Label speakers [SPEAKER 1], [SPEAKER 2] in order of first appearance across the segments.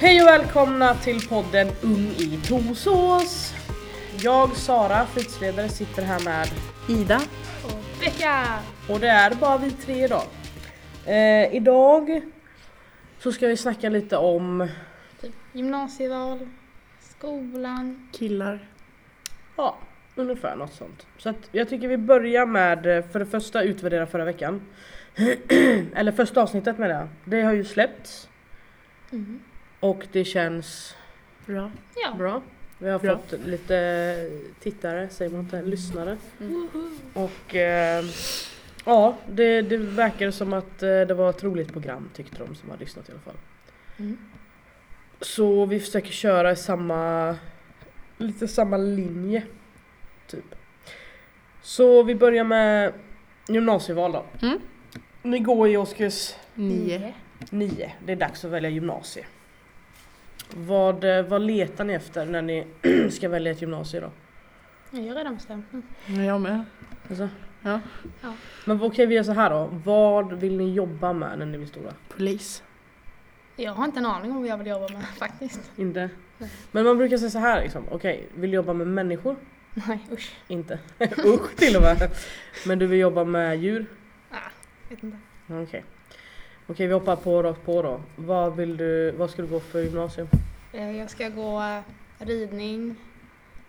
[SPEAKER 1] Hej och välkomna till podden Ung i Torsås. Jag, Sara, fritidsledare, sitter här med
[SPEAKER 2] Ida.
[SPEAKER 3] Becka!
[SPEAKER 1] och det är bara vi tre idag. Eh, idag så ska vi snacka lite om
[SPEAKER 3] Typ gymnasieval, skolan.
[SPEAKER 2] Killar.
[SPEAKER 1] Ja, ungefär något sånt. Så att jag tycker vi börjar med eh, för det första utvärdera förra veckan. Eller första avsnittet menar jag. Det har ju släppts
[SPEAKER 3] Mm.
[SPEAKER 1] och det känns
[SPEAKER 2] Bra.
[SPEAKER 3] Ja.
[SPEAKER 1] bra. Vi har
[SPEAKER 2] Bra.
[SPEAKER 1] fått lite tittare, säger man inte, lyssnare.
[SPEAKER 3] Woho!
[SPEAKER 1] Och eh, ja, det, det verkar som att eh, det var ett roligt program tyckte de som har lyssnat i alla fall.
[SPEAKER 2] Mm.
[SPEAKER 1] Så vi försöker köra i samma, lite samma linje. Typ. Så vi börjar med gymnasieval då.
[SPEAKER 2] Mm.
[SPEAKER 1] Ni går i årskurs
[SPEAKER 2] Nio.
[SPEAKER 1] nio. det är dags att välja gymnasie. Vad, eh, vad letar ni efter när ni ska välja ett gymnasie då?
[SPEAKER 3] Jag har redan bestämt mig.
[SPEAKER 2] Ja, Jag med.
[SPEAKER 1] Alltså?
[SPEAKER 2] Ja.
[SPEAKER 3] Ja.
[SPEAKER 1] Men okej vi gör så här då. Vad vill ni jobba med när ni blir stora?
[SPEAKER 2] Polis.
[SPEAKER 3] Jag har inte en aning om vad jag vill jobba med faktiskt.
[SPEAKER 1] Inte?
[SPEAKER 3] Nej.
[SPEAKER 1] Men man brukar säga så här liksom. Okej, vill du jobba med människor?
[SPEAKER 3] Nej usch.
[SPEAKER 1] Inte. Usch till och med. Men du vill jobba med djur?
[SPEAKER 3] Ah, Vet inte.
[SPEAKER 1] Okej. Okej vi hoppar på rakt på då. Vad vill du, vad ska du gå för gymnasium?
[SPEAKER 3] Eh, Jag ska gå eh, ridning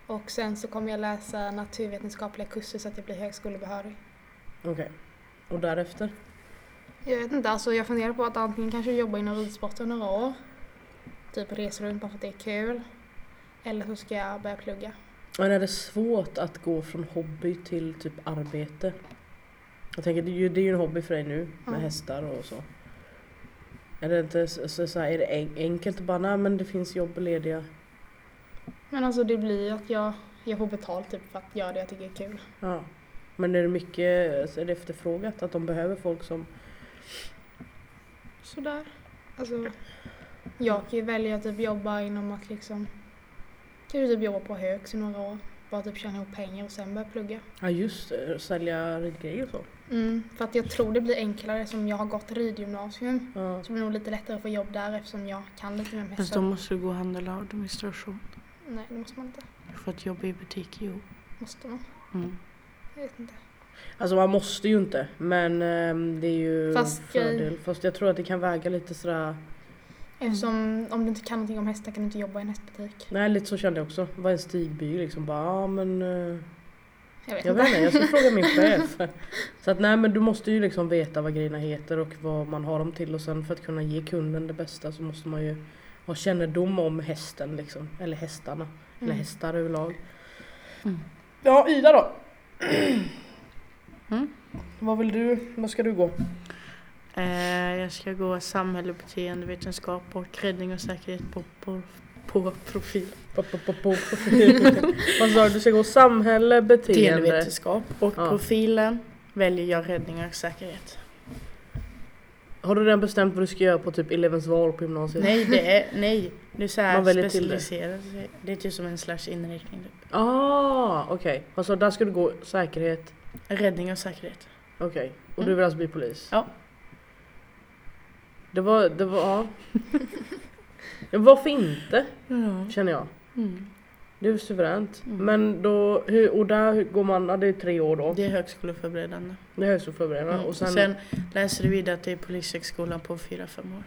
[SPEAKER 3] och sen så kommer jag läsa naturvetenskapliga kurser så att jag blir högskolebehörig.
[SPEAKER 1] Okej. Och därefter?
[SPEAKER 3] Jag vet inte, alltså jag funderar på att antingen kanske jobba inom ridsporten några år. Typ reser runt bara för att det är kul. Eller så ska jag börja plugga.
[SPEAKER 1] Men är det svårt att gå från hobby till typ arbete? Jag tänker det är ju, det är ju en hobby för dig nu med
[SPEAKER 3] Ja.
[SPEAKER 1] hästar och så. Är det inte så, så, så här, är det en- enkelt att bara nej men det finns jobb lediga?
[SPEAKER 3] Men alltså det blir ju att jag, jag får betalt typ för att göra det jag tycker är kul.
[SPEAKER 1] Ja. Men är det mycket alltså, är det efterfrågat att de behöver folk som...
[SPEAKER 3] Sådär. Alltså, jag kan ju välja att typ jobba inom att liksom, kanske typ jobba på högs i några år. Bara typ tjäna ihop pengar och sen börja plugga.
[SPEAKER 1] Ja just det, sälja ridgrejer och så.
[SPEAKER 3] Mm, för att jag tror det blir enklare som jag har gått ridgymnasium.
[SPEAKER 1] Ja.
[SPEAKER 3] Så blir det nog lite lättare att få jobb där eftersom jag kan lite mer om
[SPEAKER 2] Fast
[SPEAKER 3] hästar.
[SPEAKER 2] de måste gå handel och administration.
[SPEAKER 3] Nej, det måste man inte.
[SPEAKER 2] För att jobba i butik, jo.
[SPEAKER 3] Måste man?
[SPEAKER 2] Mm.
[SPEAKER 3] Jag vet inte.
[SPEAKER 1] Alltså man måste ju inte men ehm, det är ju
[SPEAKER 3] Fast
[SPEAKER 1] en
[SPEAKER 3] grej-
[SPEAKER 1] fördel. Fast jag tror att det kan väga lite sådär...
[SPEAKER 3] Eftersom om du inte kan någonting om hästar kan du inte jobba i en hästbutik.
[SPEAKER 1] Mm. Nej lite så kände jag också. Det var en stigby liksom bara ja men... eh,
[SPEAKER 3] Jag vet
[SPEAKER 1] Jag
[SPEAKER 3] inte.
[SPEAKER 1] vet inte, jag ska fråga min chef. Så att nej men du måste ju liksom veta vad grejerna heter och vad man har dem till och sen för att kunna ge kunden det bästa så måste man ju ha kännedom om hästen liksom. Eller hästarna. Eller
[SPEAKER 3] Mm.
[SPEAKER 1] hästar överlag.
[SPEAKER 2] Mm.
[SPEAKER 1] Ja Ida då.
[SPEAKER 2] Mm.
[SPEAKER 1] Vad vill du, vad ska du gå?
[SPEAKER 2] Eh, jag ska gå samhälle, beteendevetenskap och räddning och säkerhet på, på, på profil.
[SPEAKER 1] Po- po- po- po- Vad sa du? Du ska gå samhälle, beteende.
[SPEAKER 2] Beteendevetenskap och
[SPEAKER 1] Ja.
[SPEAKER 2] profilen väljer jag räddning och säkerhet.
[SPEAKER 1] Har du redan bestämt vad du ska göra på typ elevens val på gymnasiet?
[SPEAKER 2] Nej, det är, nej. Du så här
[SPEAKER 1] Man väljer till det.
[SPEAKER 2] specialiserar sig. Det är typ som en slags inriktning. Typ.
[SPEAKER 1] Ah, okej. Vad sa du? Där ska du gå säkerhet?
[SPEAKER 2] Räddning och säkerhet.
[SPEAKER 1] Okej, och du
[SPEAKER 2] Mm.
[SPEAKER 1] vill alltså bli polis?
[SPEAKER 2] Ja.
[SPEAKER 1] Det var, det var, ja. Ja, Varför inte,
[SPEAKER 2] Ja.
[SPEAKER 1] känner jag.
[SPEAKER 2] Mm.
[SPEAKER 1] Det är ju suveränt.
[SPEAKER 2] Mm.
[SPEAKER 1] Men då, hur, och där hur går man, ja, det är tre år då.
[SPEAKER 2] Det är högskoleförberedande.
[SPEAKER 1] Det är högskoleförberedande.
[SPEAKER 2] Mm.
[SPEAKER 1] Och sen,
[SPEAKER 2] läser du vidare till Polishögskolan på 4-5 år.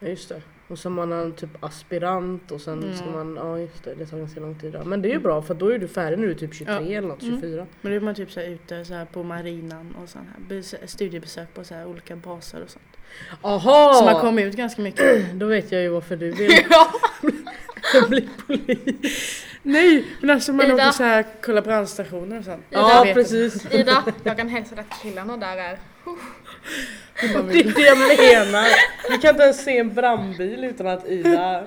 [SPEAKER 1] ja just det. Och sen man är typ aspirant och sen ska
[SPEAKER 2] Mm.
[SPEAKER 1] man, ja just det, det tar ganska lång tid. då. Men det är ju bra för då är du färdig nu typ 23
[SPEAKER 2] Ja.
[SPEAKER 1] eller något,
[SPEAKER 2] Mm.
[SPEAKER 1] 24.
[SPEAKER 2] Men då är man typ så här ute så här på marinan och sån här bes- studiebesök på så här olika baser och sånt.
[SPEAKER 1] Aha!
[SPEAKER 2] Så man kommer ut ganska mycket.
[SPEAKER 1] Då vet jag ju varför du vill bli polis.
[SPEAKER 2] Nej! Men alltså man
[SPEAKER 3] Ida.
[SPEAKER 2] åker så här kolla brandstationer och sånt.
[SPEAKER 1] Ja
[SPEAKER 2] Vet-
[SPEAKER 1] precis.
[SPEAKER 3] Ida, jag kan hälsa dig att killarna där är
[SPEAKER 2] man
[SPEAKER 1] Det
[SPEAKER 2] vill-
[SPEAKER 1] är det jag menar. Vi kan inte ens se en brandbil utan att Ida...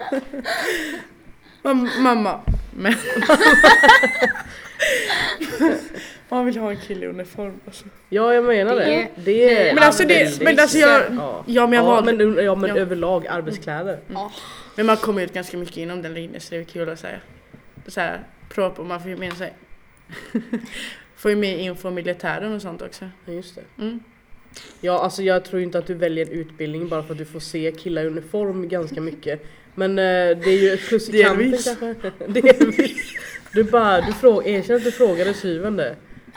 [SPEAKER 2] Mam- Mamma. Men. man vill ha en kille i uniform alltså.
[SPEAKER 1] Ja jag menar det.
[SPEAKER 3] Det-
[SPEAKER 1] Det är
[SPEAKER 2] Men alltså det,
[SPEAKER 1] väldigt-
[SPEAKER 2] men alltså jag,
[SPEAKER 1] Ja.
[SPEAKER 2] ja men jag
[SPEAKER 1] Ja
[SPEAKER 2] valde,
[SPEAKER 1] men, ja, men
[SPEAKER 2] Ja.
[SPEAKER 1] överlag arbetskläder.
[SPEAKER 2] Men man kommer ut ganska mycket inom den linjen så det är kul att säga. Så här, prova på, man får ju med sig. får ju med info om militären och sånt också.
[SPEAKER 1] Ja, just det.
[SPEAKER 2] Mm.
[SPEAKER 1] Ja alltså jag tror ju inte att du väljer en utbildning bara för att du får se killar i uniform ganska mycket. Men eh, det är ju ett plus i kanten
[SPEAKER 2] Delvis.
[SPEAKER 1] kanske. Delvis. Du bara, du frågar, erkänn att du frågade syven det.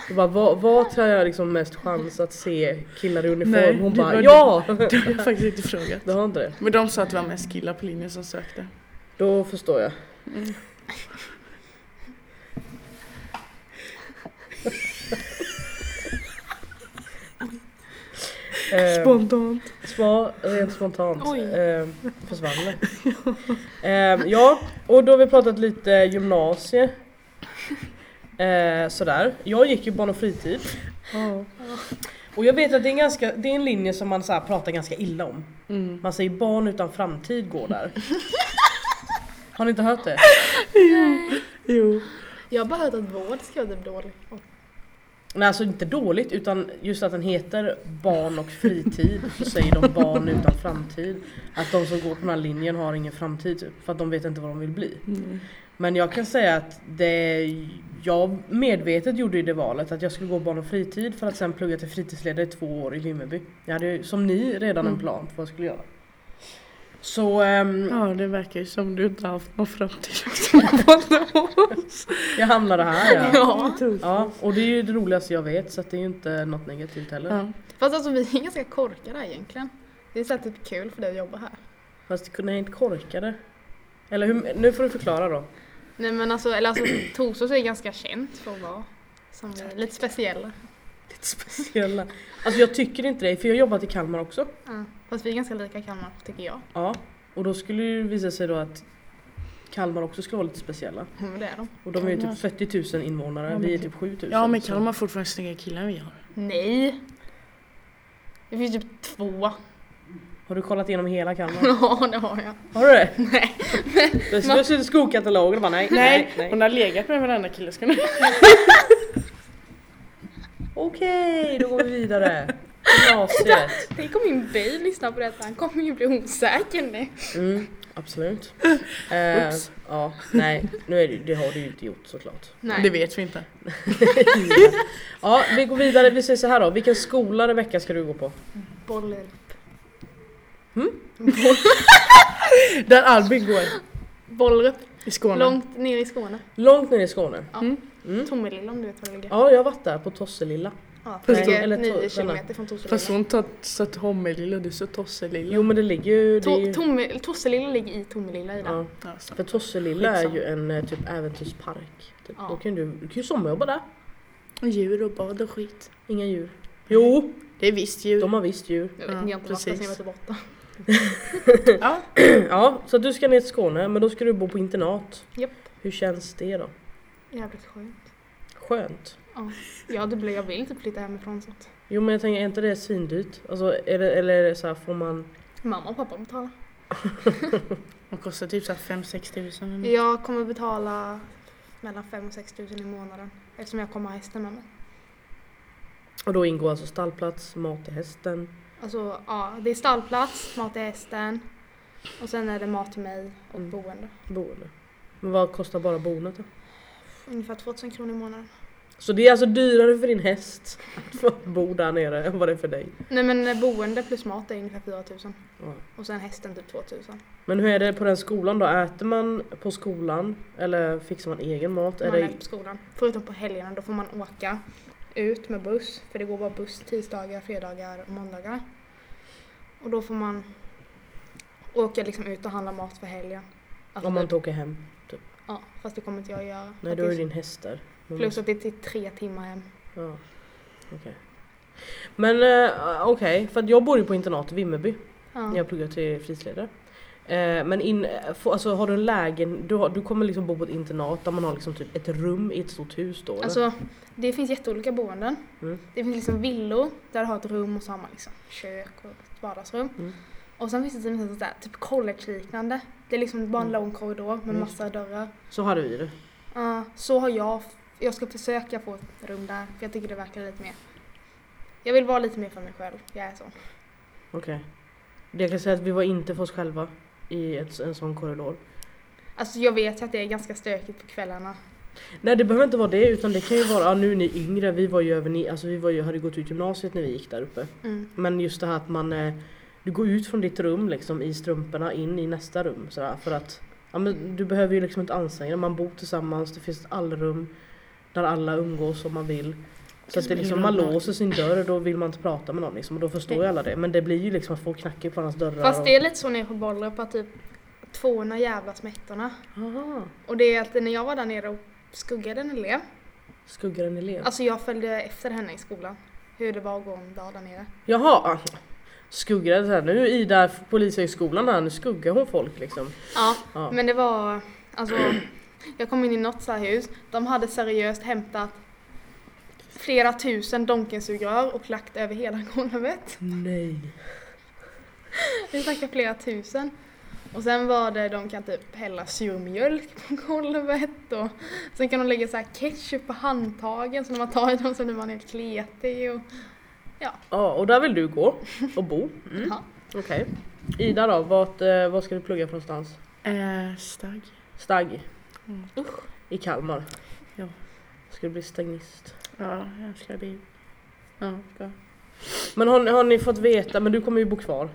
[SPEAKER 1] Du bara, vad, vad tar jag liksom mest chans att se killar i uniform?
[SPEAKER 2] Nej,
[SPEAKER 1] Hon
[SPEAKER 2] du
[SPEAKER 1] bara,
[SPEAKER 2] bara,
[SPEAKER 1] ja!
[SPEAKER 2] Det har jag faktiskt inte frågat.
[SPEAKER 1] Du har inte det?
[SPEAKER 2] Men de sa att det var mest killar på linjen som sökte.
[SPEAKER 1] Då förstår jag.
[SPEAKER 2] Mm.
[SPEAKER 1] Eh,
[SPEAKER 2] Spontant.
[SPEAKER 1] Spa, rent spontant.
[SPEAKER 3] Oj.
[SPEAKER 1] Eh, försvann det. eh, ja, och då har vi pratat lite gymnasie. Eh, sådär. Jag gick ju barn och fritid.
[SPEAKER 2] Ja.
[SPEAKER 1] Och jag vet att det är en, ganska, det är en linje som man så här pratar ganska illa om.
[SPEAKER 2] Mm.
[SPEAKER 1] Man säger barn utan framtid går där. Har ni inte hört det?
[SPEAKER 2] Jo.
[SPEAKER 3] Jag har bara hört att vård ska vara typ dålig. Och
[SPEAKER 1] Nej alltså inte dåligt utan just att den heter barn och fritid så säger de barn utan framtid. Att de som går på den här linjen har ingen framtid typ, för att de vet inte vad de vill bli.
[SPEAKER 2] Mm.
[SPEAKER 1] Men jag kan säga att det jag medvetet gjorde i det valet att jag skulle gå barn och fritid för att sen plugga till fritidsledare i två år i Vimmerby. Jag hade ju som ni redan en
[SPEAKER 2] Mm.
[SPEAKER 1] plan på vad jag skulle göra. Så ehm,
[SPEAKER 2] Ja, det verkar ju som du inte har haft någon framtid som oss.
[SPEAKER 1] jag hamnade här ja.
[SPEAKER 2] Ja.
[SPEAKER 1] ja. Och det är ju det roligaste jag vet så att det är ju inte något negativt heller.
[SPEAKER 2] Ja.
[SPEAKER 3] Fast alltså vi är ganska korkade här egentligen. Det är så här typ kul för dig att jobba här.
[SPEAKER 1] Fast det kunde jag inte korka det. Eller hur, nu får du förklara då.
[SPEAKER 3] Nej men alltså, eller alltså Torsås är ganska känt för att vara som vi är lite speciella.
[SPEAKER 1] Lite speciella. Alltså jag tycker inte det, för jag har jobbat i Kalmar också.
[SPEAKER 3] Ja. Fast vi är ganska lika Kalmar tycker jag.
[SPEAKER 1] Ja. Och då skulle det ju visa sig då att Kalmar också skulle vara lite speciella.
[SPEAKER 3] Mm, det är de.
[SPEAKER 1] Och de är ju
[SPEAKER 2] Kalmar.
[SPEAKER 1] typ 40 000 invånare,
[SPEAKER 2] Ja, men
[SPEAKER 1] vi är
[SPEAKER 2] typ-
[SPEAKER 1] typ 7 000.
[SPEAKER 2] ja, men
[SPEAKER 1] så-
[SPEAKER 2] Kalmar har fortfarande snyggare killar än vi har.
[SPEAKER 3] Nej! Det finns typ två.
[SPEAKER 1] Har du kollat igenom hela Kalmar?
[SPEAKER 3] Ja det har jag.
[SPEAKER 1] Har du det? Nej. Det står i skolkatalogen och bara nej, nej, nej.
[SPEAKER 2] hon har legat med varenda kille ska nu.
[SPEAKER 1] Okej, då går vi vidare. Gymnasiet.
[SPEAKER 3] Tänk om min bil lyssnar på detta, han kommer ju bli osäker nu.
[SPEAKER 1] Mm, absolut. Eh,
[SPEAKER 2] Oops.
[SPEAKER 1] ja, nej, nu är det, det har du ju inte gjort såklart.
[SPEAKER 3] Nej.
[SPEAKER 2] Det vet vi inte.
[SPEAKER 1] Ja, vi går vidare. Vi säger så här då. Vilken skola Rebecka ska du gå på?
[SPEAKER 3] Bollrup.
[SPEAKER 2] Där Albin går.
[SPEAKER 3] Bollrup,
[SPEAKER 2] I Skåne.
[SPEAKER 3] långt ner i Skåne.
[SPEAKER 1] Långt ner i Skåne. Mm.
[SPEAKER 3] Tomelilla om du vet var det ligger.
[SPEAKER 1] Ja, jag har varit där på Tosselilla.
[SPEAKER 3] Ja,
[SPEAKER 1] Fast-
[SPEAKER 3] ligger
[SPEAKER 1] eller
[SPEAKER 3] nio
[SPEAKER 1] Torslanda.
[SPEAKER 3] kilometer från
[SPEAKER 2] Fast
[SPEAKER 3] Torslilla.
[SPEAKER 2] hon tar- sa Tommelilla och du sa Tosselilla.
[SPEAKER 1] Jo, men det ligger ju... Det är
[SPEAKER 3] To-
[SPEAKER 1] ju
[SPEAKER 3] Tomme- Tosselilla ligger i Tomelilla i
[SPEAKER 1] ja,
[SPEAKER 2] Alltså.
[SPEAKER 1] för Tosselilla är
[SPEAKER 2] Skitsamma.
[SPEAKER 1] ju en eh, typ äventyrspark. Typ.
[SPEAKER 3] Ja.
[SPEAKER 1] Då kan du, du kan ju sommarjobba där.
[SPEAKER 2] Och djur och bad och skit.
[SPEAKER 1] Inga djur. Jo,
[SPEAKER 2] Det är visst djur.
[SPEAKER 1] de har visst djur.
[SPEAKER 3] Jag vet
[SPEAKER 2] Ja,
[SPEAKER 3] inte, jag har inte varit där sen jag
[SPEAKER 2] precis.
[SPEAKER 3] var typ åtta.
[SPEAKER 2] Ja.
[SPEAKER 1] Ja, så du ska ner till Skåne, men då ska du bo på internat.
[SPEAKER 3] Japp.
[SPEAKER 1] Hur känns det då?
[SPEAKER 3] Jävligt skönt.
[SPEAKER 1] Skönt.
[SPEAKER 3] Ja, det blir, jag vill typ flytta hemifrån så att
[SPEAKER 1] Jo men jag tänker, är inte det svindyrt? Alltså, är det, eller är det så här, får man...
[SPEAKER 3] mamma och pappa betalar.
[SPEAKER 2] De kostar typ såhär 5-6 tusen.
[SPEAKER 3] Mm. Jag kommer betala mellan 5 och 6 tusen i månaden eftersom jag kommer ha hästen med mig.
[SPEAKER 1] Och då ingår alltså stallplats, mat till hästen.
[SPEAKER 3] Alltså, ja, det är stallplats, mat till hästen och sen är det mat till mig och
[SPEAKER 1] Mm.
[SPEAKER 3] boende.
[SPEAKER 1] boende. Men vad kostar bara boendet då?
[SPEAKER 3] Ungefär 2000 kronor i månaden.
[SPEAKER 1] Så det är alltså dyrare för din häst att få bo där nere än vad det är för dig.
[SPEAKER 3] Nej men boende plus mat är ungefär 4000
[SPEAKER 1] Ja.
[SPEAKER 3] och sen hästen typ 2000.
[SPEAKER 1] Men hur är det på den skolan då? Äter man på skolan eller fixar man egen mat? Är
[SPEAKER 3] Man är
[SPEAKER 1] det...
[SPEAKER 3] på skolan. Förutom på helgerna, då får man åka ut med buss. För det går bara buss tisdagar, fredagar och måndagar. Och då får man åka liksom ut och handla mat för helgen. Alltså
[SPEAKER 1] Om man
[SPEAKER 3] typ-
[SPEAKER 1] inte åker hem?
[SPEAKER 3] ja, fast det kommer inte jag göra.
[SPEAKER 1] Nej
[SPEAKER 3] Att
[SPEAKER 1] då
[SPEAKER 3] det
[SPEAKER 1] är
[SPEAKER 3] är
[SPEAKER 1] det
[SPEAKER 3] så-
[SPEAKER 1] din häst där. Men-
[SPEAKER 3] Plus att det är till tre timmar hem.
[SPEAKER 1] Ja. Okej. Men eh, okej, för att jag bor ju på internat i Vimmerby
[SPEAKER 3] Ja.
[SPEAKER 1] när jag pluggar till fritidsledare. Eh, men in, eh, få- alltså, har du en lägen, du, har, du kommer liksom bo på ett internat där man har liksom typ ett rum i ett stort hus då? eller?
[SPEAKER 3] Alltså, det finns jätteolika boenden.
[SPEAKER 1] Mm.
[SPEAKER 3] Det finns liksom villor där du har ett rum och så har man liksom kök och ett vardagsrum.
[SPEAKER 1] Mm.
[SPEAKER 3] Och sen finns det typ, sånt där, typ college-liknande. Det är liksom bara en
[SPEAKER 1] Mm.
[SPEAKER 3] lång korridor med
[SPEAKER 1] Mm.
[SPEAKER 3] massa dörrar.
[SPEAKER 1] Så hade vi det.
[SPEAKER 3] Ja, så har jag. Jag ska försöka få ett rum där, för jag tycker det verkar lite mer. Jag vill vara lite mer för mig själv, jag är så.
[SPEAKER 1] Okej. Det Jag kan säga att vi var inte för oss själva i ett, en sån korridor.
[SPEAKER 3] Alltså jag vet ju att det är ganska stökigt på kvällarna.
[SPEAKER 1] Nej det behöver inte vara det utan det kan ju vara, ja, nu är ni yngre, vi var ju över ni, alltså vi var ju, hade gått ut gymnasiet när vi gick där uppe.
[SPEAKER 3] Mm.
[SPEAKER 1] Men just det här att man, eh, du du går ut från ditt rum liksom i strumporna in i nästa rum sådär, för att ja, men du behöver ju liksom inte anstränga dig. Man bor tillsammans, det finns ett allrum där alla umgås om man vill. Så att det är liksom, man låser sin dörr och då vill man inte prata med någon liksom, och då förstår ju alla det. Men det blir ju liksom att folk knackar på hans dörrar.
[SPEAKER 3] Fast det är lite så nere på Bollrup att typ tvåorna jävlas med ettorna.
[SPEAKER 1] och... Aha,
[SPEAKER 3] Och det är alltid när jag var där nere och skuggade en elev.
[SPEAKER 1] skuggar en elev.
[SPEAKER 3] Alltså jag följde efter henne i skolan. Hur det var att gå en dag där nere.
[SPEAKER 1] Jaha! Skuggar så här, nu är Ida på polishögskolan här, nu skuggar hon folk liksom.
[SPEAKER 3] Ja,
[SPEAKER 1] Ja.
[SPEAKER 3] men det var alltså. Jag kom in i något så här hus. De hade seriöst hämtat flera tusen donkensugrör och lagt över hela golvet.
[SPEAKER 1] Nej.
[SPEAKER 3] Vi snackar flera tusen. Och sen var det, de kan typ hälla surmjölk på golvet och sen kan de lägga så här ketchup på handtagen så när man tar i dem så blir man helt kletig och
[SPEAKER 1] Ja, och där vill du gå och bo. Mm.
[SPEAKER 3] Ja.
[SPEAKER 1] Okej. Ida då, vart, eh, vad ska du plugga för någonstans?
[SPEAKER 2] Eh, stagg.
[SPEAKER 1] Stagg?
[SPEAKER 2] Mm.
[SPEAKER 1] I Kalmar?
[SPEAKER 2] Ja.
[SPEAKER 1] Ska du bli stagnist?
[SPEAKER 2] Ja, jag älskar bil. Ja, bra.
[SPEAKER 1] Men har, ni- har ni fått veta, men du kommer ju bo kvar.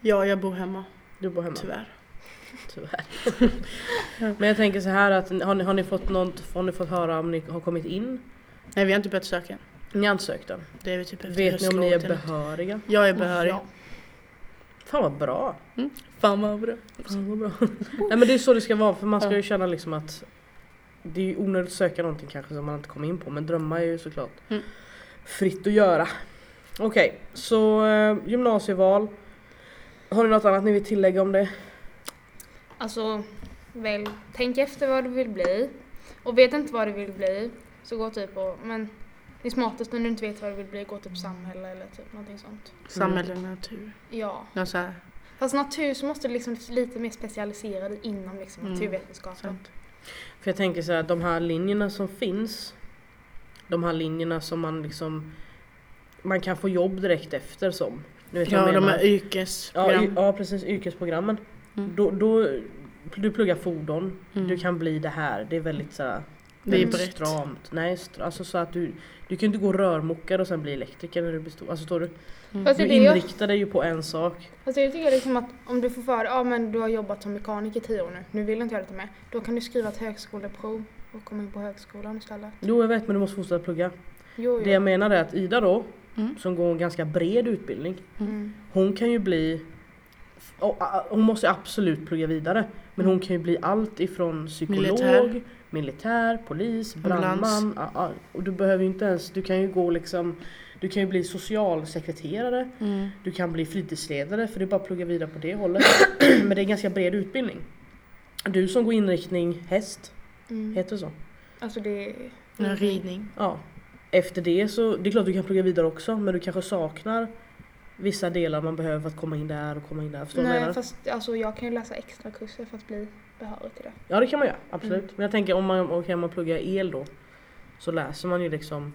[SPEAKER 2] Ja, jag bor hemma.
[SPEAKER 1] Du bor hemma.
[SPEAKER 2] Tyvärr.
[SPEAKER 1] Tyvärr. men jag tänker så här att har ni, har ni, fått, något, har ni fått höra om ni har kommit in?
[SPEAKER 2] Nej, vi har inte börjat söka än.
[SPEAKER 1] Ni ansökte?
[SPEAKER 2] Det är vi typ efter
[SPEAKER 1] Vet ni om ni är
[SPEAKER 2] höstlovet eller-
[SPEAKER 1] behöriga?
[SPEAKER 2] Jag är behörig.
[SPEAKER 3] Ja.
[SPEAKER 1] Fan vad bra!
[SPEAKER 2] Fan vad bra.
[SPEAKER 1] Fan vad bra. Nej men det är så det ska vara för man ska ju känna liksom att det är ju onödigt att söka någonting kanske som man inte kommer in på men drömmar är ju såklart
[SPEAKER 2] Mm.
[SPEAKER 1] fritt att göra. Okej, så eh, gymnasieval. Har ni något annat ni vill tillägga om det?
[SPEAKER 3] Alltså, väl, tänk efter vad du vill bli. Och vet inte vad du vill bli, så gå typ och, men det är smartast när du inte vet vad du vill bli, gå typ samhälle eller typ någonting sånt.
[SPEAKER 2] Samhälle
[SPEAKER 1] Mm.
[SPEAKER 2] och natur.
[SPEAKER 3] Ja.
[SPEAKER 2] Något så här.
[SPEAKER 3] Fast natur så måste du liksom lite mer specialisera dig inom liksom
[SPEAKER 2] Mm.
[SPEAKER 3] naturvetenskapen.
[SPEAKER 2] Sant.
[SPEAKER 1] För jag tänker så här att de här linjerna som finns, de här linjerna som man liksom man kan få jobb direkt efter som. Ni vet vad
[SPEAKER 2] Ja,
[SPEAKER 1] jag
[SPEAKER 2] de
[SPEAKER 1] menar.
[SPEAKER 2] här yrkesprogram.
[SPEAKER 1] Ja, y- ja precis, yrkesprogrammen.
[SPEAKER 2] Mm.
[SPEAKER 1] Då, då, du pluggar fordon,
[SPEAKER 2] Mm.
[SPEAKER 1] du kan bli det här. Det är väldigt såhär,
[SPEAKER 2] Det är
[SPEAKER 3] Mm.
[SPEAKER 1] väldigt
[SPEAKER 2] brett.
[SPEAKER 1] stramt. Nej, str- alltså så att du, du kan ju inte gå rörmokare och sen bli elektriker när du blir stor. Alltså står du,
[SPEAKER 2] Mm.
[SPEAKER 3] Fast det
[SPEAKER 1] du
[SPEAKER 3] är det jag,
[SPEAKER 1] inriktar dig ju på en sak.
[SPEAKER 3] fast jag tycker liksom att om du får för dig, ja men du har jobbat som mekaniker i tio år nu, nu vill inte jag detta mer. Då kan du skriva ett högskoleprov och komma in på högskolan istället.
[SPEAKER 1] Jo jag vet men du måste fortsätta plugga.
[SPEAKER 3] Jo,
[SPEAKER 1] Det jag
[SPEAKER 3] jo.
[SPEAKER 1] menar är att Ida då,
[SPEAKER 2] Mm.
[SPEAKER 1] som går en ganska bred utbildning,
[SPEAKER 3] Mm.
[SPEAKER 1] hon kan ju bli och, ah, hon måste ju absolut plugga vidare men hon kan ju bli allt ifrån psykolog, militär,
[SPEAKER 2] Mm. Militär.
[SPEAKER 1] polis,
[SPEAKER 2] Ambulans.
[SPEAKER 1] brandman. ah, ah, Och du behöver ju inte ens, du kan ju gå liksom Du kan ju bli socialsekreterare,
[SPEAKER 2] Mm.
[SPEAKER 1] du kan bli fritidsledare för det är bara att plugga vidare på det hållet. men det är en ganska bred utbildning. Du som går inriktning häst,
[SPEAKER 3] Mm.
[SPEAKER 1] heter det så?
[SPEAKER 3] Alltså det är...
[SPEAKER 1] Mm.
[SPEAKER 2] Ja, Ridning.
[SPEAKER 1] Ja. Efter det så, det är klart du kan plugga vidare också men du kanske saknar vissa delar man behöver för att komma in där och komma in där. Förstår du vad jag menar?
[SPEAKER 3] Nej, fast alltså, jag kan ju läsa extra kurser för att bli behörig till det.
[SPEAKER 1] Ja det kan man göra, absolut.
[SPEAKER 3] Mm.
[SPEAKER 1] Men jag tänker om man, okay, om man pluggar el då så läser man ju liksom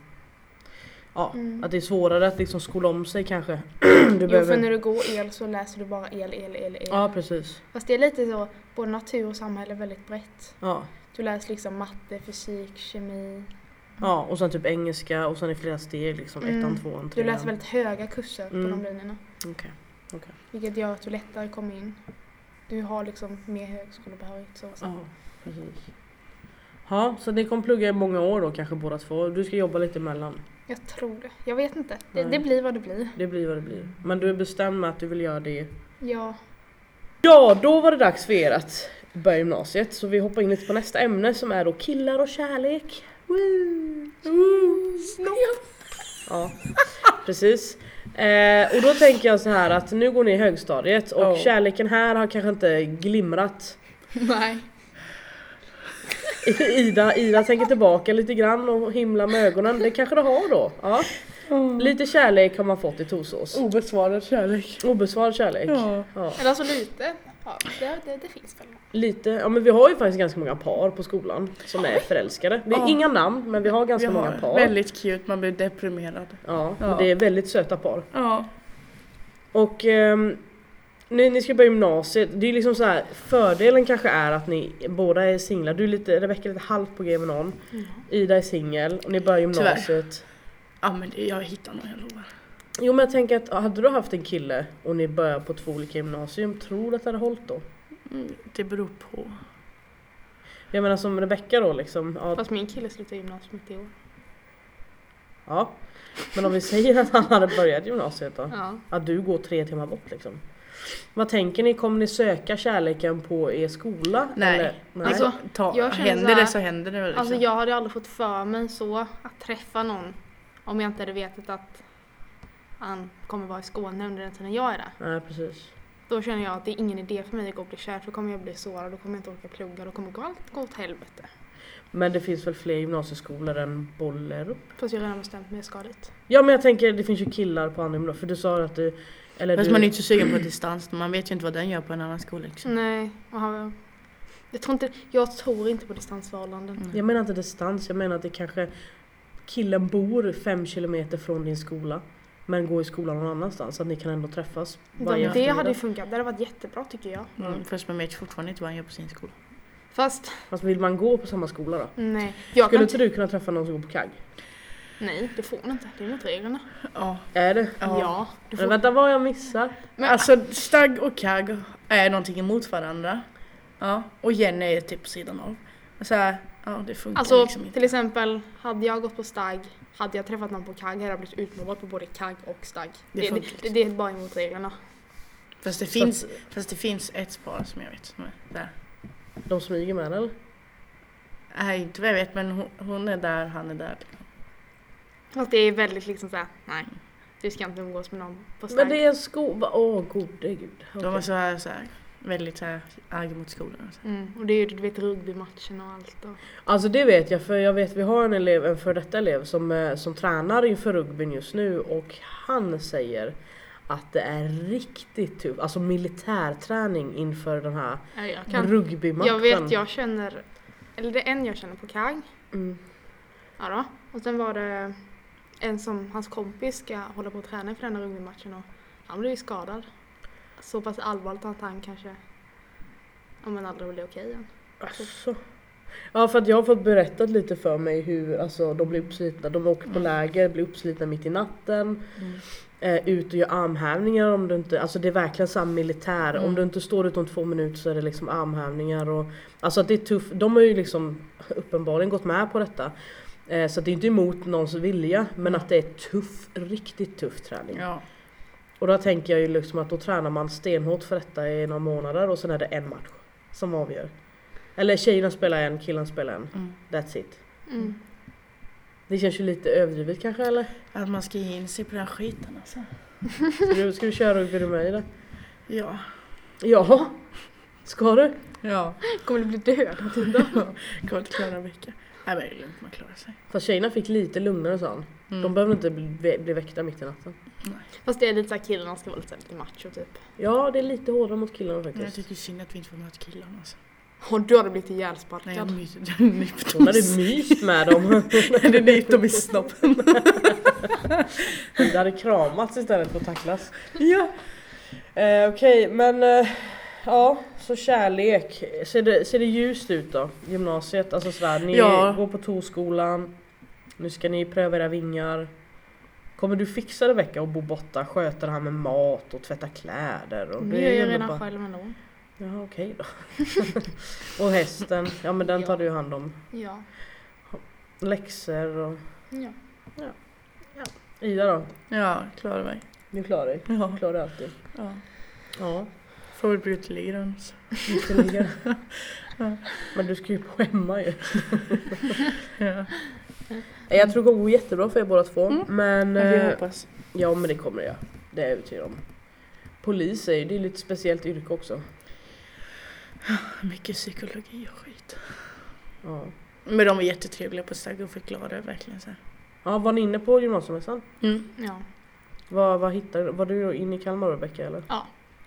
[SPEAKER 1] Ja,
[SPEAKER 3] Mm.
[SPEAKER 1] att det är svårare att liksom skola om sig kanske. du
[SPEAKER 3] jo,
[SPEAKER 1] behöver...
[SPEAKER 3] för när du går el så läser du bara el, el, el, el.
[SPEAKER 1] Ja precis.
[SPEAKER 3] Fast det är lite så, både natur och samhälle är väldigt brett.
[SPEAKER 1] Ja.
[SPEAKER 3] Du läser liksom matte, fysik, kemi.
[SPEAKER 1] ja, och sen typ engelska och sen i flera steg liksom
[SPEAKER 3] Mm.
[SPEAKER 1] ettan, tvåan,
[SPEAKER 3] Du
[SPEAKER 1] trean.
[SPEAKER 3] läser väldigt höga kurser
[SPEAKER 1] Mm.
[SPEAKER 3] på de linjerna.
[SPEAKER 1] Okej.
[SPEAKER 3] Vilket gör att du lättare kommer in. Du har liksom mer högskolebehörighet. Så.
[SPEAKER 1] Ja, precis. Ja, så ni kommer plugga i många år då kanske båda två. Du ska jobba lite emellan.
[SPEAKER 3] Jag tror det. Jag vet inte. Det,
[SPEAKER 1] Nej.
[SPEAKER 3] det blir vad det blir.
[SPEAKER 1] Det blir vad det blir. Men du är bestämd med att du vill göra det
[SPEAKER 3] Ja.
[SPEAKER 1] Ja, då var det dags för er att börja gymnasiet så vi hoppar in lite på nästa ämne som är då killar och kärlek. Woo! Woo! Ja, precis. Eh, och då tänker jag så här att nu går ni i högstadiet och
[SPEAKER 2] Oh.
[SPEAKER 1] kärleken här har kanske inte glimrat.
[SPEAKER 3] Nej.
[SPEAKER 1] Ida, Ida tänker tillbaka lite grann och himlar med ögonen. Det kanske det har då. Ja. Lite kärlek har man fått i Torsås.
[SPEAKER 2] Obesvarad kärlek.
[SPEAKER 1] Obesvarad kärlek.
[SPEAKER 2] Ja.
[SPEAKER 1] Ja.
[SPEAKER 3] Eller så lite. Ja, det, det, det finns väl.
[SPEAKER 1] Lite, ja men vi har ju faktiskt ganska många par på skolan som är förälskade. Vi har
[SPEAKER 2] Ja.
[SPEAKER 1] inga namn men vi har
[SPEAKER 2] Vi
[SPEAKER 1] ganska många
[SPEAKER 2] har
[SPEAKER 1] par.
[SPEAKER 2] väldigt cute, man blir deprimerad.
[SPEAKER 1] Ja,
[SPEAKER 2] Ja.
[SPEAKER 1] och det är väldigt söta par.
[SPEAKER 2] Ja.
[SPEAKER 1] Och ehm, ni, ni ska börja gymnasiet, det är liksom så här, fördelen kanske är att ni båda är singlar. Du är lite, Rebecka är lite halvt på grejen med någon. Ida är singel och ni börjar gymnasiet.
[SPEAKER 2] Ja men det, jag hittar någon, jag lovar.
[SPEAKER 1] Jo men jag tänker att hade du haft en kille och ni börjar på två olika gymnasium, tror du att det hade hållit då?
[SPEAKER 2] Mm, det beror på.
[SPEAKER 1] Jag menar som Rebecka då liksom. Ja,
[SPEAKER 3] Fast min kille slutar gymnasiet i år.
[SPEAKER 1] ja. Men om vi säger att han hade börjat gymnasiet då?
[SPEAKER 3] Ja.
[SPEAKER 1] Att du går tre timmar bort liksom. Vad tänker ni, kommer ni söka kärleken på er skola?
[SPEAKER 2] Nej.
[SPEAKER 1] Eller? Nej.
[SPEAKER 3] Alltså,
[SPEAKER 2] ta,
[SPEAKER 3] jag känner
[SPEAKER 2] händer
[SPEAKER 3] så här-
[SPEAKER 2] det så händer det. väl, Liksom.
[SPEAKER 3] Alltså jag hade aldrig fått för mig så att träffa någon om jag inte hade vetat att han kommer vara i Skåne under den tiden jag är där.
[SPEAKER 1] Nej precis.
[SPEAKER 3] Då känner jag att det är ingen idé för mig att gå och bli kär för då kommer jag bli sårad, då kommer jag inte orka plugga, då kommer gå allt gå åt helvete.
[SPEAKER 1] Men det finns väl fler gymnasieskolor än Bollerup?
[SPEAKER 3] Fast jag har redan bestämt mig, jag ska dit.
[SPEAKER 1] Ja men jag tänker det finns ju killar på andra gymnasier för du sa att du... Eller
[SPEAKER 2] Fast
[SPEAKER 1] du
[SPEAKER 2] man är inte så sugen på distans, man vet ju inte vad den gör på en annan skola. Liksom.
[SPEAKER 3] Nej, och han, jag, tror inte, jag tror inte på distansförhållanden.
[SPEAKER 2] Mm.
[SPEAKER 1] Jag menar inte distans, jag menar att det kanske killen bor fem kilometer från din skola men går i skolan någon annanstans så att ni kan ändå träffas. varje
[SPEAKER 3] De, det
[SPEAKER 1] eftermiddag.
[SPEAKER 3] hade ju funkat, det hade varit jättebra tycker jag.
[SPEAKER 2] Mm. Fast man vet fortfarande inte vad han gör på sin skola.
[SPEAKER 3] Fast
[SPEAKER 1] Fast Alltså, vill man gå på samma skola då?
[SPEAKER 3] nej, jag
[SPEAKER 1] Skulle
[SPEAKER 3] kan
[SPEAKER 1] inte
[SPEAKER 3] inte.
[SPEAKER 1] du kunna träffa någon som går på KAG?
[SPEAKER 3] Nej, det får man inte. Det är mot reglerna.
[SPEAKER 2] Ja.
[SPEAKER 1] Är det?
[SPEAKER 2] Ja.
[SPEAKER 3] Ja, du
[SPEAKER 1] Men
[SPEAKER 3] får,
[SPEAKER 1] vänta vad jag missar?
[SPEAKER 2] Men alltså stagg och kagg är någonting emot varandra. Ja. Och Jenny är typ på sidan av. Så här, ja det funkar
[SPEAKER 3] Alltså
[SPEAKER 2] liksom inte.
[SPEAKER 3] till exempel, hade jag gått på stag, hade jag träffat någon på kagg hade jag blivit utmobbad på både kagg och stag. Det,
[SPEAKER 2] Det
[SPEAKER 3] det,
[SPEAKER 2] funkar
[SPEAKER 3] det, det är bara emot reglerna.
[SPEAKER 2] Fast det,
[SPEAKER 1] Så
[SPEAKER 2] finns, fast det finns ett par som jag vet som är där.
[SPEAKER 1] De smyger med eller?
[SPEAKER 2] Nej inte vad jag vet men hon, hon är där, han är där.
[SPEAKER 3] Fast det är väldigt liksom såhär, nej. Du ska inte umgås med någon på stag.
[SPEAKER 1] Men det är en skola, åh gode gud.
[SPEAKER 2] De
[SPEAKER 1] Okej.
[SPEAKER 2] var så här, så här väldigt så här, arga mot skolan. och så här.
[SPEAKER 3] Mm, och det är ju du vet rugbymatchen och allt. Och...
[SPEAKER 1] Alltså det vet jag för jag vet vi har en elev, en före detta elev som, eh, som tränar inför rugbyn just nu och han säger att det är riktigt tufft, alltså militärträning inför den här
[SPEAKER 3] Nej, jag, kan...
[SPEAKER 1] rugbymatchen.
[SPEAKER 3] jag vet, jag känner, eller det är en jag känner på kagg.
[SPEAKER 1] Mm.
[SPEAKER 3] Ja då. Och sen var det en som hans kompis ska hålla på och träna inför den här rugbymatchen och han blev ju skadad. Så pass allvarligt att han kanske, ja men aldrig blir okej igen.
[SPEAKER 1] Alltså. Ja för att jag har fått berättat lite för mig hur alltså, de blir uppslitna, de åker på
[SPEAKER 2] Mm.
[SPEAKER 1] läger, blir uppslitna mitt i natten,
[SPEAKER 2] Mm.
[SPEAKER 1] eh, ut och gör armhävningar om du inte, alltså det är verkligen såhär militär,
[SPEAKER 2] Mm.
[SPEAKER 1] om du inte står utom två minuter så är det liksom armhävningar och alltså att det är tufft, de har ju liksom uppenbarligen gått med på detta. Eh, så att det är inte emot någons vilja men
[SPEAKER 2] Mm.
[SPEAKER 1] att det är tuff, riktigt tuff träning.
[SPEAKER 2] Ja.
[SPEAKER 1] Och då tänker jag ju liksom att då tränar man stenhårt för detta i några månader och sen är det en match som avgör. Eller tjejerna spelar en, killen spelar en.
[SPEAKER 2] Mm.
[SPEAKER 1] That's it.
[SPEAKER 3] Mm.
[SPEAKER 1] Det känns ju lite överdrivet kanske eller?
[SPEAKER 2] Att man ska ge in sig på den här skiten alltså.
[SPEAKER 1] Ska du, ska du köra rugby du med i det?
[SPEAKER 2] Ja.
[SPEAKER 1] Ja! Ska du?
[SPEAKER 2] Ja.
[SPEAKER 3] Kommer du bli död?
[SPEAKER 2] Kommer inte klara en vecka. Nej men det är lugnt, man klarar sig.
[SPEAKER 1] Fast tjejerna fick lite lugnare sa han.
[SPEAKER 2] Mm.
[SPEAKER 1] De behövde inte bli, bli väckta mitt i natten.
[SPEAKER 3] Fast det är lite såhär killarna ska vara lite, såhär lite macho typ.
[SPEAKER 1] Ja det är lite hårdare mot killarna
[SPEAKER 2] Men jag
[SPEAKER 1] faktiskt.
[SPEAKER 2] tycker synd att vi inte får möta killarna alltså.
[SPEAKER 3] Och du hade blivit
[SPEAKER 2] Nej jag
[SPEAKER 3] ihjälsparkad.
[SPEAKER 2] nyper dem.
[SPEAKER 1] Hon hade myst med dem.
[SPEAKER 2] Eller nyper dem i snoppen.
[SPEAKER 1] Det hade kramats istället för att tacklas.
[SPEAKER 2] Ja.
[SPEAKER 1] Eh, Okej men eh, ja, så kärlek. Ser det, ser det ljust ut då? Gymnasiet, alltså sådär, ni
[SPEAKER 2] Ja.
[SPEAKER 1] går på Torskolan. Nu ska ni pröva era vingar. Kommer du fixa det Vecka och bo borta? Sköta det här med mat och tvätta kläder? Och
[SPEAKER 3] Nu gör
[SPEAKER 1] är
[SPEAKER 3] jag
[SPEAKER 1] ju
[SPEAKER 3] redan
[SPEAKER 1] bara-
[SPEAKER 3] själv ändå.
[SPEAKER 1] Jaha okej då. och hästen, ja men den tar
[SPEAKER 3] Ja.
[SPEAKER 1] du hand om.
[SPEAKER 3] Ja.
[SPEAKER 1] Läxor och...
[SPEAKER 3] ja.
[SPEAKER 1] Ida då?
[SPEAKER 2] Ja, klarar mig.
[SPEAKER 1] Du klarar dig.
[SPEAKER 2] Ja.
[SPEAKER 1] Du klarar dig alltid.
[SPEAKER 2] ja.
[SPEAKER 1] Ja,
[SPEAKER 2] Får väl bli alltså. uteliggare så.
[SPEAKER 1] ytterligare. Men du ska ju på hemma ju.
[SPEAKER 2] Ja.
[SPEAKER 1] Nej, Jag tror det går jättebra för er båda två.
[SPEAKER 2] Mm.
[SPEAKER 1] Men
[SPEAKER 2] Men vi
[SPEAKER 1] eh,
[SPEAKER 2] hoppas.
[SPEAKER 1] ja, men det kommer det göra. Det är jag övertygad om. Polis är ju det är ju lite speciellt yrke också.
[SPEAKER 2] Mycket psykologi och skit.
[SPEAKER 1] Ja.
[SPEAKER 2] Men de var jättetrevliga på Stagg och förklarade verkligen så här.
[SPEAKER 1] ja, var ni inne på gymnasiemässan?
[SPEAKER 2] Mm.
[SPEAKER 3] ja.
[SPEAKER 1] Vad, vad hittade du? Var du inne i Kalmar Rebecka eller?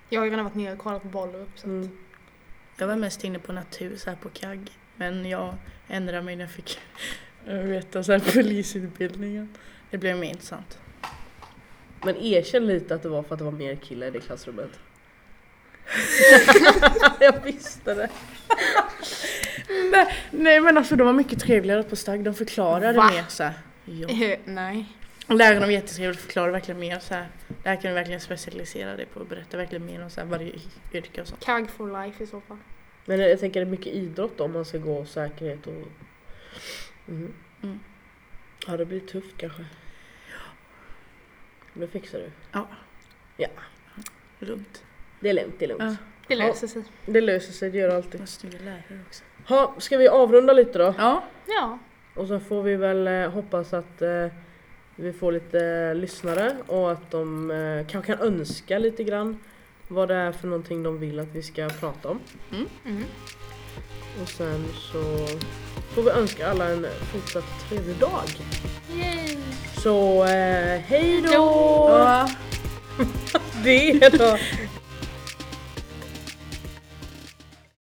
[SPEAKER 3] Jag har ju redan varit nere och kollat på Bollerup så att
[SPEAKER 1] Mm.
[SPEAKER 2] Jag var mest inne på natur så här på kagg. Men jag ändrade mig när jag fick eh, veta så här polisutbildningen. Det blev mer intressant.
[SPEAKER 1] Men erkänn lite att det var för att det var mer killar i det klassrummet. jag visste det.
[SPEAKER 2] Nej men alltså de var mycket trevligare på Stagg. De förklarade
[SPEAKER 3] Va?
[SPEAKER 2] mer så här. Ja.
[SPEAKER 3] Eh, Nej.
[SPEAKER 2] Och läraren var jättetrevlig och förklarade verkligen mer så här. Det här kan du verkligen specialisera dig på och berätta verkligen mer om så här, varje yrke och sånt.
[SPEAKER 3] Kagg for life i så fall.
[SPEAKER 1] Men jag tänker det är mycket idrott då, om man ska gå säkerhet och... Mm.
[SPEAKER 2] Mm.
[SPEAKER 1] Ja det blir tufft kanske. Men det fixar du.
[SPEAKER 2] Lugnt.
[SPEAKER 1] Det är lugnt, det är lugnt.
[SPEAKER 2] Ja.
[SPEAKER 3] Det
[SPEAKER 1] Ja.
[SPEAKER 3] löser sig.
[SPEAKER 1] Det löser sig, det gör det alltid.
[SPEAKER 2] Vad snygga lärare också.
[SPEAKER 1] Ha, ska vi avrunda lite då?
[SPEAKER 2] Ja,
[SPEAKER 3] Ja.
[SPEAKER 1] Och sen får vi väl eh, hoppas att eh, vi får lite eh, lyssnare och att de eh, kanske kan önska lite grann vad det är för någonting de vill att vi ska prata om.
[SPEAKER 3] Mm.
[SPEAKER 1] Och sen så får vi önska alla en fortsatt trevlig dag.
[SPEAKER 3] Yay!
[SPEAKER 1] Så eh, hej då!
[SPEAKER 3] Hej då!
[SPEAKER 2] ja.
[SPEAKER 1] Det då!